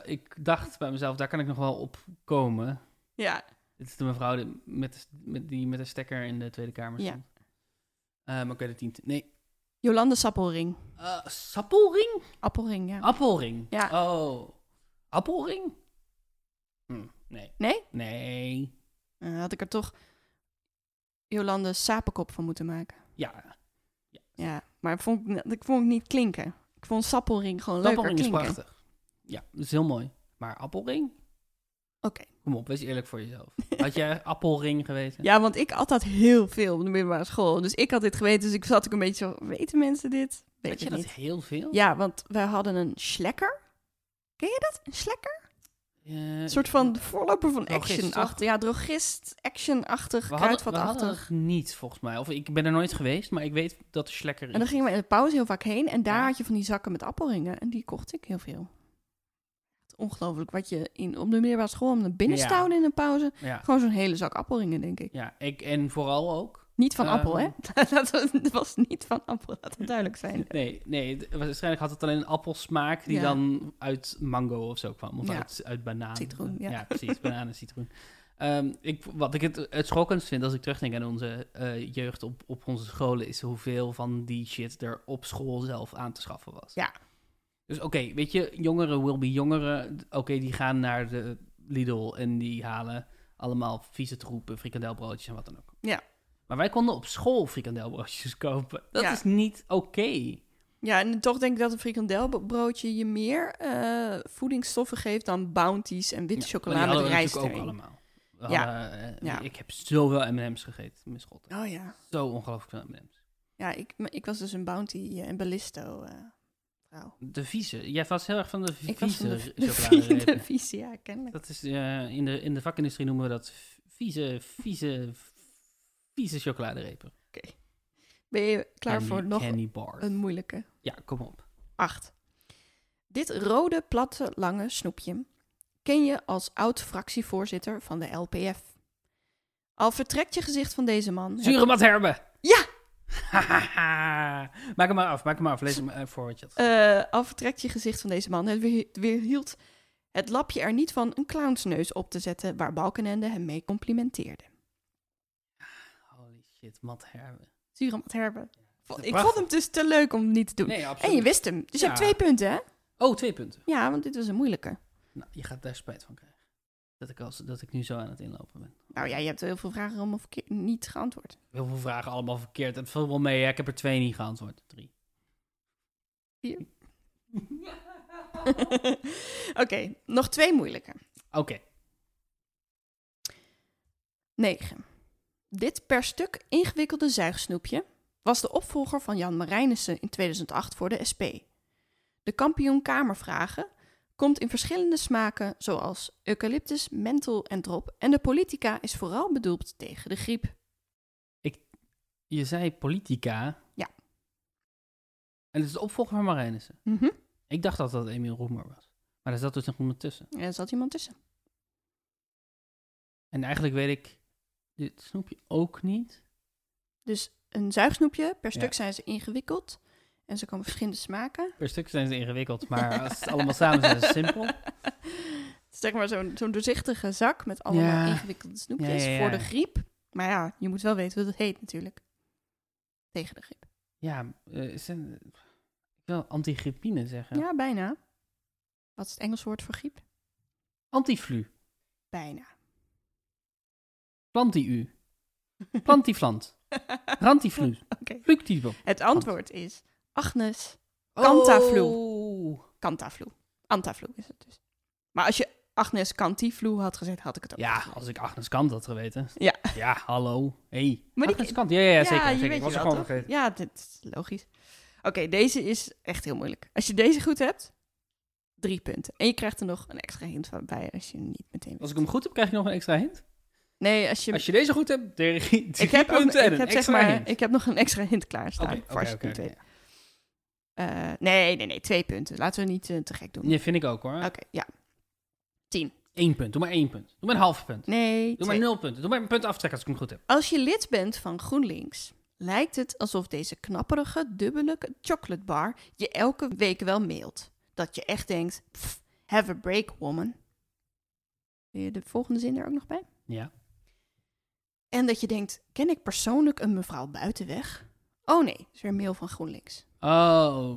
A: ik dacht bij mezelf, daar kan ik nog wel op komen.
B: Ja.
A: Dit is de mevrouw die met, de- met, die met een stekker in de Tweede Kamer
B: Ja.
A: stond. Eh, maar ik weet het niet. Nee.
B: Jolande Sappelring.
A: Eh, sappelring?
B: Appelring, ja.
A: Appelring?
B: Ja.
A: Oh. Appelring? Hm, nee.
B: Nee?
A: Nee.
B: Eh, had ik er toch Jolande Sapenkop van moeten maken.
A: Ja.
B: Ja, maar ik vond, ik vond het niet klinken. Ik vond Sappelring gewoon leuker
A: Appelring is
B: klinken.
A: prachtig. Ja, dat is heel mooi. Maar appelring?
B: Oké.
A: Kom op, wees eerlijk voor jezelf.
B: <laughs>
A: Had jij appelring geweten?
B: Ja, want ik had dat heel veel op de middelbare school. Dus ik had dit geweten, dus ik zat ook een beetje zo... Weten mensen dit? Weet
A: Weet je
B: ik
A: dat
B: niet.
A: heel veel?
B: Ja, want wij hadden een slekker. Ken je dat? Een slekker?
A: Eh,
B: Een soort van de voorloper van
A: Drogist,
B: action. Achter, ja, drogist, actionachtig,
A: we hadden, we hadden
B: kruidvatachtig.
A: het niet, volgens mij. Of ik ben er nooit geweest, maar ik weet dat de slekker is.
B: En dan gingen we in de pauze heel vaak heen. En daar
A: Ja.
B: had je van die zakken met appelringen. En die kocht ik heel veel. Echt Ongelooflijk wat je in, op de middelbare school om de binnenstouwen in een pauze.
A: Ja,
B: Gewoon zo'n hele zak appelringen, denk ik.
A: ja ik, en vooral ook...
B: Niet van appel, hè? <laughs>
A: Ehm.
B: dat was- het was niet van appel, laat het duidelijk zijn.
A: <laughs> Nee, nee, het- waarschijnlijk had het alleen een appelsmaak die
B: Ja.
A: dan uit mango of zo kwam. Of
B: Ja.
A: uit, uit banaan.
B: Citroen, ja.
A: precies. Bananen, citroen. Ehm, ik, wat ik het, het schokkendst vind als ik terugdenk aan onze eh, jeugd op, op onze scholen... is hoeveel van die shit er op school zelf aan te schaffen was.
B: Ja.
A: Dus oké, weet je, jongeren will be jongeren. d- Oké, die gaan naar de Lidl en die halen allemaal vieze troepen, frikandelbroodjes en wat dan ook.
B: Ja.
A: Maar wij konden op school frikandelbroodjes kopen. Dat
B: Ja.
A: is niet oké.
B: Ja, en toch denk ik dat een frikandelbroodje je meer eh, voedingsstoffen geeft dan bounties en witte
A: maar
B: chocolade
A: die
B: met rijst
A: hadden we
B: erin.
A: natuurlijk ook allemaal.
B: Ja.
A: ja.
B: Ja.
A: Ik heb zoveel M&M's gegeten, mijn schot.
B: Oh ja.
A: Zo ongelooflijk veel M&M's.
B: Ja, ik, maar ik was dus een bounty eh, en ballisto eh, vrouw.
A: De vieze. Jij was heel erg van de v-
B: Ik was van
A: vieze
B: de, de,
A: chocoladerepen.
B: de visie, ja, kennelijk.
A: Dat is, eh, in, de, in de vakindustrie noemen we dat v- vieze, vieze, v- vieze chocoladerepen.
B: Ben je klaar
A: Candy-
B: voor nog
A: Candy bar.
B: een moeilijke?
A: Ja, kom op.
B: Acht. Dit rode, platte, lange snoepje ken je als oud-fractievoorzitter van de LPF. Al vertrekt je gezicht van deze man... heb-
A: Zure Mat Herbe!
B: Ja!
A: <laughs> maak hem maar af, maak hem maar af. Lees hem eh, voor wat je had.
B: Eh, al vertrekt je gezicht van deze man. Het weer- weerhield het lapje er niet van een clownsneus op te zetten... waar Balkenende hem mee complimenteerde.
A: Holy shit, Mat Herbe.
B: Zuramat Herbe. Vo- Ik
A: Prachtig.
B: vond hem dus te leuk om niet te doen.
A: Nee,
B: en je
A: absoluut.
B: wist hem. Dus je
A: Ja.
B: hebt twee punten, hè?
A: Oh, twee punten.
B: Ja, want dit was een moeilijke.
A: Nou, je gaat daar spijt van krijgen. Dat ik, als, dat ik nu zo aan het inlopen ben.
B: Nou ja, je hebt heel veel vragen allemaal verkeer- niet geantwoord.
A: <laughs> Heel veel vragen, allemaal verkeerd. Het valt wel mee, hè? ik heb er twee niet geantwoord. Drie.
B: Vier. Oké, nog twee moeilijke.
A: Oké.
B: 9. Dit per stuk ingewikkelde zuigsnoepje was de opvolger van Jan Marijnissen in 2008 voor de SP. De kampioen Kamervragen komt in verschillende smaken zoals eucalyptus, menthol en drop en de politica is vooral bedoeld tegen de griep.
A: Je zei politica.
B: Ja.
A: En het is de opvolger van Marijnissen.
B: Mhm.
A: Ik dacht dat dat Emiel Roemer was. Maar daar zat dus nog iemand tussen.
B: En er zat iemand tussen.
A: En eigenlijk weet ik dit snoepje ook niet.
B: Dus een zuigsnoepje, per
A: Ja.
B: stuk zijn ze ingewikkeld en ze komen verschillende smaken.
A: Per stuk zijn ze ingewikkeld, <laughs> maar als het allemaal samen
B: <laughs>
A: is, is het simpel.
B: zeg maar zo'n zo'n doorzichtige zak met allemaal
A: Ja.
B: ingewikkelde snoepjes
A: Ja, ja, ja.
B: voor de griep. Maar ja, je moet wel weten hoe dat heet natuurlijk. Tegen de griep.
A: Ja, eh, is een- ik wil antigrippine
B: Ja,
A: zeggen.
B: bijna. Wat is het Engelse woord voor griep?
A: Antiflu.
B: Bijna.
A: Planti-u.
B: <laughs>
A: Plantiflant. Rantiflu.
B: Oké.
A: Pluktivo.
B: Het antwoord is Agnes Cantaflu.
A: Cantaflu. Oh.
B: Cantaflu. Antaflu is het dus. Maar als je Agnes Cantiflu had gezet, had ik het ook
A: Ja,
B: gezien.
A: als ik Agnes Kant had geweten.
B: Ja.
A: Ja, hallo. Hey.
B: Maar die-
A: Agnes Kant. Ja, ja, ja, zeker.
B: je
A: zeker.
B: weet
A: Ik was
B: je
A: er
B: wel,
A: gewoon
B: toch?
A: vergeten.
B: Ja, dit is logisch. Oké, deze is echt heel moeilijk. Als je deze goed hebt, drie punten. En je krijgt er nog een extra hint van bij als je hem niet meteen weet.
A: Als ik hem goed heb, krijg je nog een extra hint.
B: Nee, als je...
A: Als je deze goed hebt, drie, drie
B: ik heb, ook-
A: punten en
B: ik
A: een
B: heb, zeg
A: extra
B: maar,
A: hint.
B: ik heb nog een extra hint klaarstaan
A: Oké,
B: voor
A: oké,
B: als je het
A: oké,
B: niet
A: oké.
B: weet. Eh, nee, nee, nee, twee punten. Laten we niet eh, te gek doen.
A: Ja, vind ik ook hoor.
B: Oké, ja.
A: Eén punt. Doe maar één punt. Doe maar een half punt.
B: Nee,
A: Doe
B: twee.
A: maar nul punten. Doe maar een punt aftrekken als ik hem goed heb.
B: Als je lid bent van GroenLinks, lijkt het alsof deze knapperige, dubbele chocolate bar je elke week wel mailt. Dat je echt denkt, "Pff, have a break, woman. Wil je de volgende zin er ook nog bij?
A: Ja.
B: En dat je denkt, ken ik persoonlijk een mevrouw Buitenweg? Oh nee, is weer een mail van GroenLinks.
A: Oh,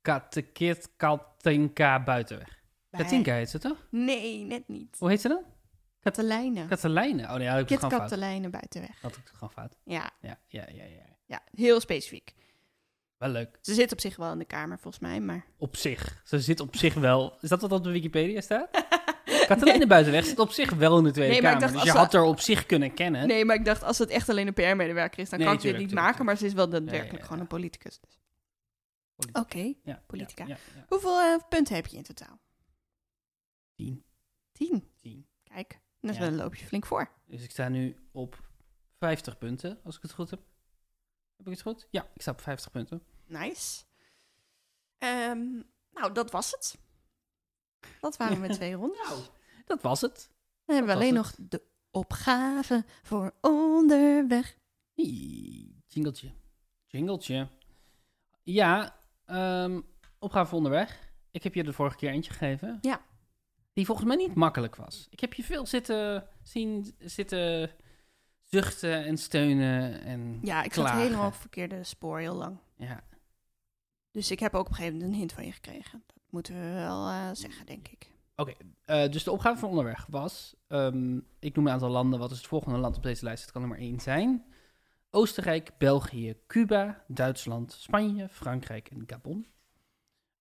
A: Katekit Katinka Buitenweg. Katinka heet ze toch?
B: Nee, net niet.
A: Hoe heet ze dan?
B: Katelijne.
A: Katelijne. Oh nee, had ik het
B: Kit
A: gewoon fout.
B: Katelijne Buitenweg.
A: Had ik het gewoon fout.
B: Ja,
A: Ja, ja, ja, ja.
B: ja, heel specifiek.
A: Wel leuk.
B: Ze zit op zich wel in de kamer, volgens mij, maar...
A: Op zich. Ze zit op zich wel. Is dat wat op de Wikipedia
B: <laughs>
A: staat? Katelijne Buitenweg zit op zich wel in de Tweede
B: Nee, maar ik
A: Kamer.
B: dacht,
A: dus je
B: als ze-
A: had haar op zich kunnen kennen.
B: Nee, maar ik dacht, als het echt alleen een PR-medewerker is, dan
A: Nee,
B: kan ik dit niet
A: tuurlijk,
B: maken. Maar ze is wel daadwerkelijk
A: Ja, ja, ja.
B: gewoon een politicus. dus. Oké.
A: Politica. Ja,
B: politica.
A: Ja, ja, ja.
B: Hoeveel eh, punten heb je in totaal?
A: Tien.
B: Tien.
A: Tien.
B: Kijk, dus
A: Ja.
B: dan loop je flink voor.
A: Dus ik sta nu op 50 punten, als ik het goed heb. Heb ik het goed? Ja, ik sta op 50 punten.
B: Nice. Ehm, nou, dat was het.
A: <laughs>
B: Dat waren we met twee ronden.
A: Nou, dat was het.
B: Dan hebben we
A: dat
B: alleen nog
A: was
B: de opgave voor onderweg.
A: Hie, Jingletje. Jingletje. Ja, ehm, opgave voor onderweg. Ik heb je de vorige keer eentje gegeven.
B: Ja.
A: Die volgens mij niet makkelijk was. Ik heb je veel zitten zien, zitten zuchten en steunen. En,
B: Ja, ik zat
A: Klagen.
B: helemaal op het verkeerde spoor heel lang.
A: ja.
B: Dus ik heb ook op een gegeven moment een hint van je gekregen. Dat moeten we wel eh, zeggen, denk ik.
A: Eh, dus de opgave van onderweg was, ehm, ik noem een aantal landen, wat is het volgende land op deze lijst? Het kan er maar één zijn. Oostenrijk, België, Cuba, Duitsland, Spanje, Frankrijk en Gabon.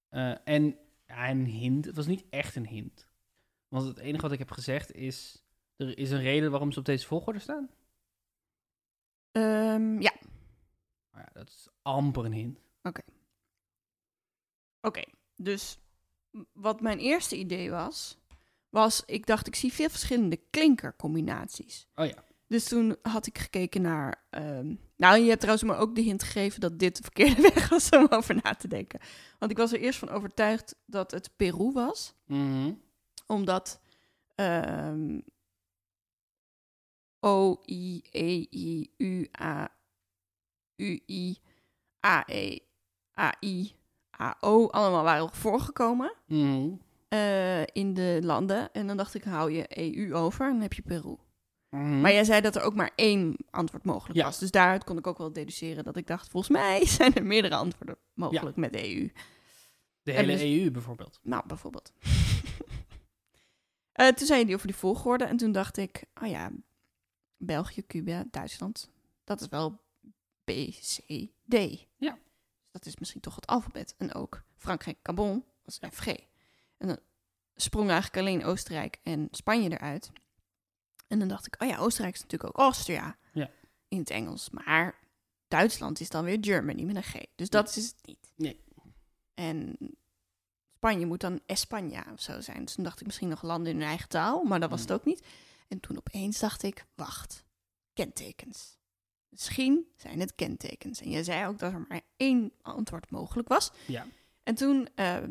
A: Eh, en ja, een hint, het was niet echt een hint. Want het enige wat ik heb gezegd is, er is een reden waarom ze op deze volgorde staan.
B: Ehm, ja, oké.
A: Maar ja, dat is amper een hint.
B: Dus m- wat mijn eerste idee was, was ik dacht, ik zie veel verschillende klinkercombinaties.
A: Oh ja.
B: Dus toen had ik gekeken naar... ehm, nou, je hebt trouwens me ook de hint gegeven dat dit de verkeerde <laughs> weg was om over na te denken. Want ik was er eerst van overtuigd dat het Peru was.
A: Mhm.
B: Omdat ehm O, I, E, I, U, A, U, I, A, E, A, I, A, O allemaal waren voorgekomen
A: Mhm.
B: eh, in de landen. En dan dacht ik, hou je EU over en dan heb je Peru.
A: Mhm.
B: Maar jij zei dat er ook maar één antwoord mogelijk
A: Ja.
B: was. Dus daaruit kon ik ook wel deduceren dat ik dacht, volgens mij <laughs> zijn er meerdere antwoorden mogelijk met E EU.
A: De
B: en
A: hele
B: dus-
A: EU bijvoorbeeld.
B: Nou, bijvoorbeeld. <laughs> Eh, toen zei die over die volgorde en toen dacht ik, oh ja, België, Cuba, Duitsland, dat is wel B, C, D. Dus
A: Ja.
B: Dat is misschien toch het alfabet. En ook Frankrijk, Gabon, dat is FG. En dan sprong eigenlijk alleen Oostenrijk en Spanje eruit. En dan dacht ik, oh ja, Oostenrijk is natuurlijk ook Austria
A: Ja.
B: in het Engels. Maar Duitsland is dan weer Germany met een G. Dus dat is het niet.
A: Nee.
B: En Spanje moet dan Espanja of zo zijn. Dus toen dacht ik misschien nog landen in hun eigen taal, maar dat was het
A: Hmm.
B: ook niet. En toen opeens dacht ik, wacht, kentekens. Misschien zijn het kentekens. En jij zei ook dat er maar één antwoord mogelijk was.
A: Ja.
B: En toen eh,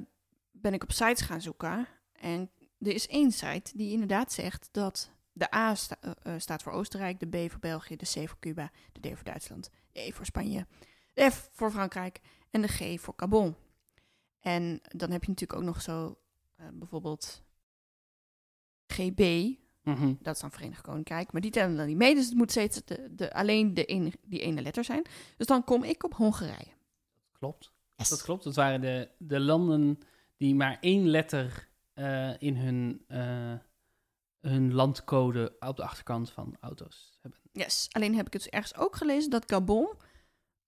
B: ben ik op sites gaan zoeken. En er is één site die inderdaad zegt dat de A sta- eh, eh, staat voor Oostenrijk, de B voor België, de C voor Cuba, de D voor Duitsland, de E voor Spanje, de F voor Frankrijk en de G voor Gabon. En dan heb je natuurlijk ook nog zo eh, bijvoorbeeld GB,
A: Mhm.
B: dat is dan Verenigd Koninkrijk, maar die tellen dan niet mee, dus het moet steeds de, de, alleen de ene, die ene letter zijn. Dus dan kom ik op Hongarije.
A: Klopt. Dat klopt. Dat waren de, de landen die maar één letter eh, in hun, eh, hun landcode op de achterkant van auto's hebben.
B: Yes, alleen heb ik het dus ergens ook gelezen dat Gabon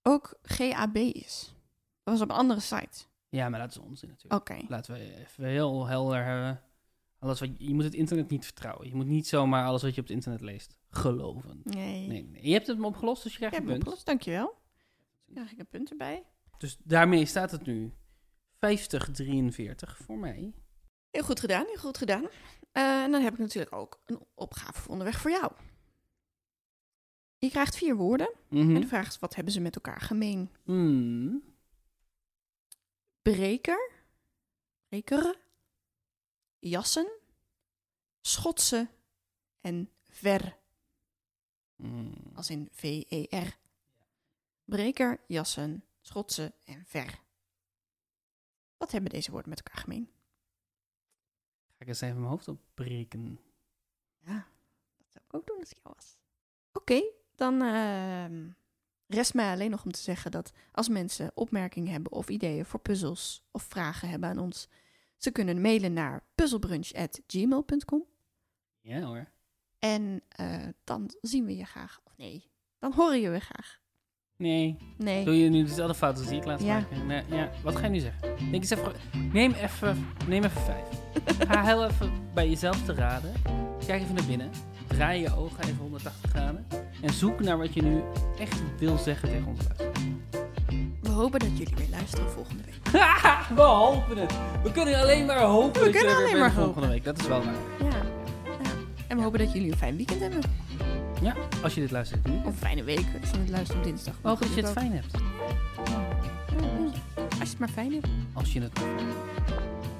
B: ook GAB is. Dat was op een andere site.
A: Ja, maar dat is onzin natuurlijk.
B: Oké.
A: Laten we even heel helder hebben. Alles wat, je moet het internet niet vertrouwen. Je moet niet zomaar alles wat je op het internet leest geloven.
B: Nee.
A: Nee, nee. Je hebt het hem opgelost, dus je
B: Ik
A: krijgt
B: heb
A: een
B: hem
A: punt.
B: opgelost, dankjewel. Dan krijg ik een punt erbij.
A: Dus daarmee staat het nu 50-43 voor mij.
B: Heel goed gedaan, heel goed gedaan. Eh, en dan heb ik natuurlijk ook een opgave voor onderweg voor jou. Je krijgt vier woorden en
A: Mhm.
B: de vraag is, wat hebben ze met elkaar gemeen?
A: Hmm.
B: Breker, breker, jassen, schotsen en ver,
A: Hmm.
B: als in V-E-R. Breker, jassen, schotsen en ver. Wat hebben deze woorden met elkaar gemeen?
A: Ga ik eens even mijn hoofd opbreken.
B: Ja, dat zou ik ook doen als ik jou was. Oké, dan ehm, rest mij alleen nog om te zeggen dat als mensen opmerkingen hebben of ideeën voor puzzels of vragen hebben aan ons, ze kunnen mailen naar puzzelbrunch.gmail.com.
A: Ja hoor.
B: En eh, dan zien we je graag. Of nee, dan horen je we graag.
A: Nee.
B: Nee.
A: Doe je nu dezelfde fouten als die ik laatst
B: Ja.
A: maakte? Nee, ja. Wat ga je nu zeggen? Denk eens even, neem even, neem even
B: <laughs>
A: vijf. Ga heel even bij jezelf te raden. Kijk even naar binnen. Draai je ogen even 180 graden. En zoek naar wat je nu echt wil zeggen tegen ons <laughs> luisteraars.
B: We hopen dat jullie weer luisteren volgende week.
A: Haha, we hopen het. We kunnen alleen maar hopen dat je
B: kunnen
A: er weer
B: alleen
A: bent
B: maar
A: volgende
B: hopen.
A: week. Dat is wel waar.
B: Ja. ja. En we hopen dat jullie een fijn weekend hebben.
A: Ja, als je dit luistert nu.
B: Of een fijne week. Het is aan het luisteren op dinsdag.
A: Hoop dat je het
B: Ook.
A: fijn hebt.
B: Ja, ja. Als je het maar fijn hebt.
A: Als je het...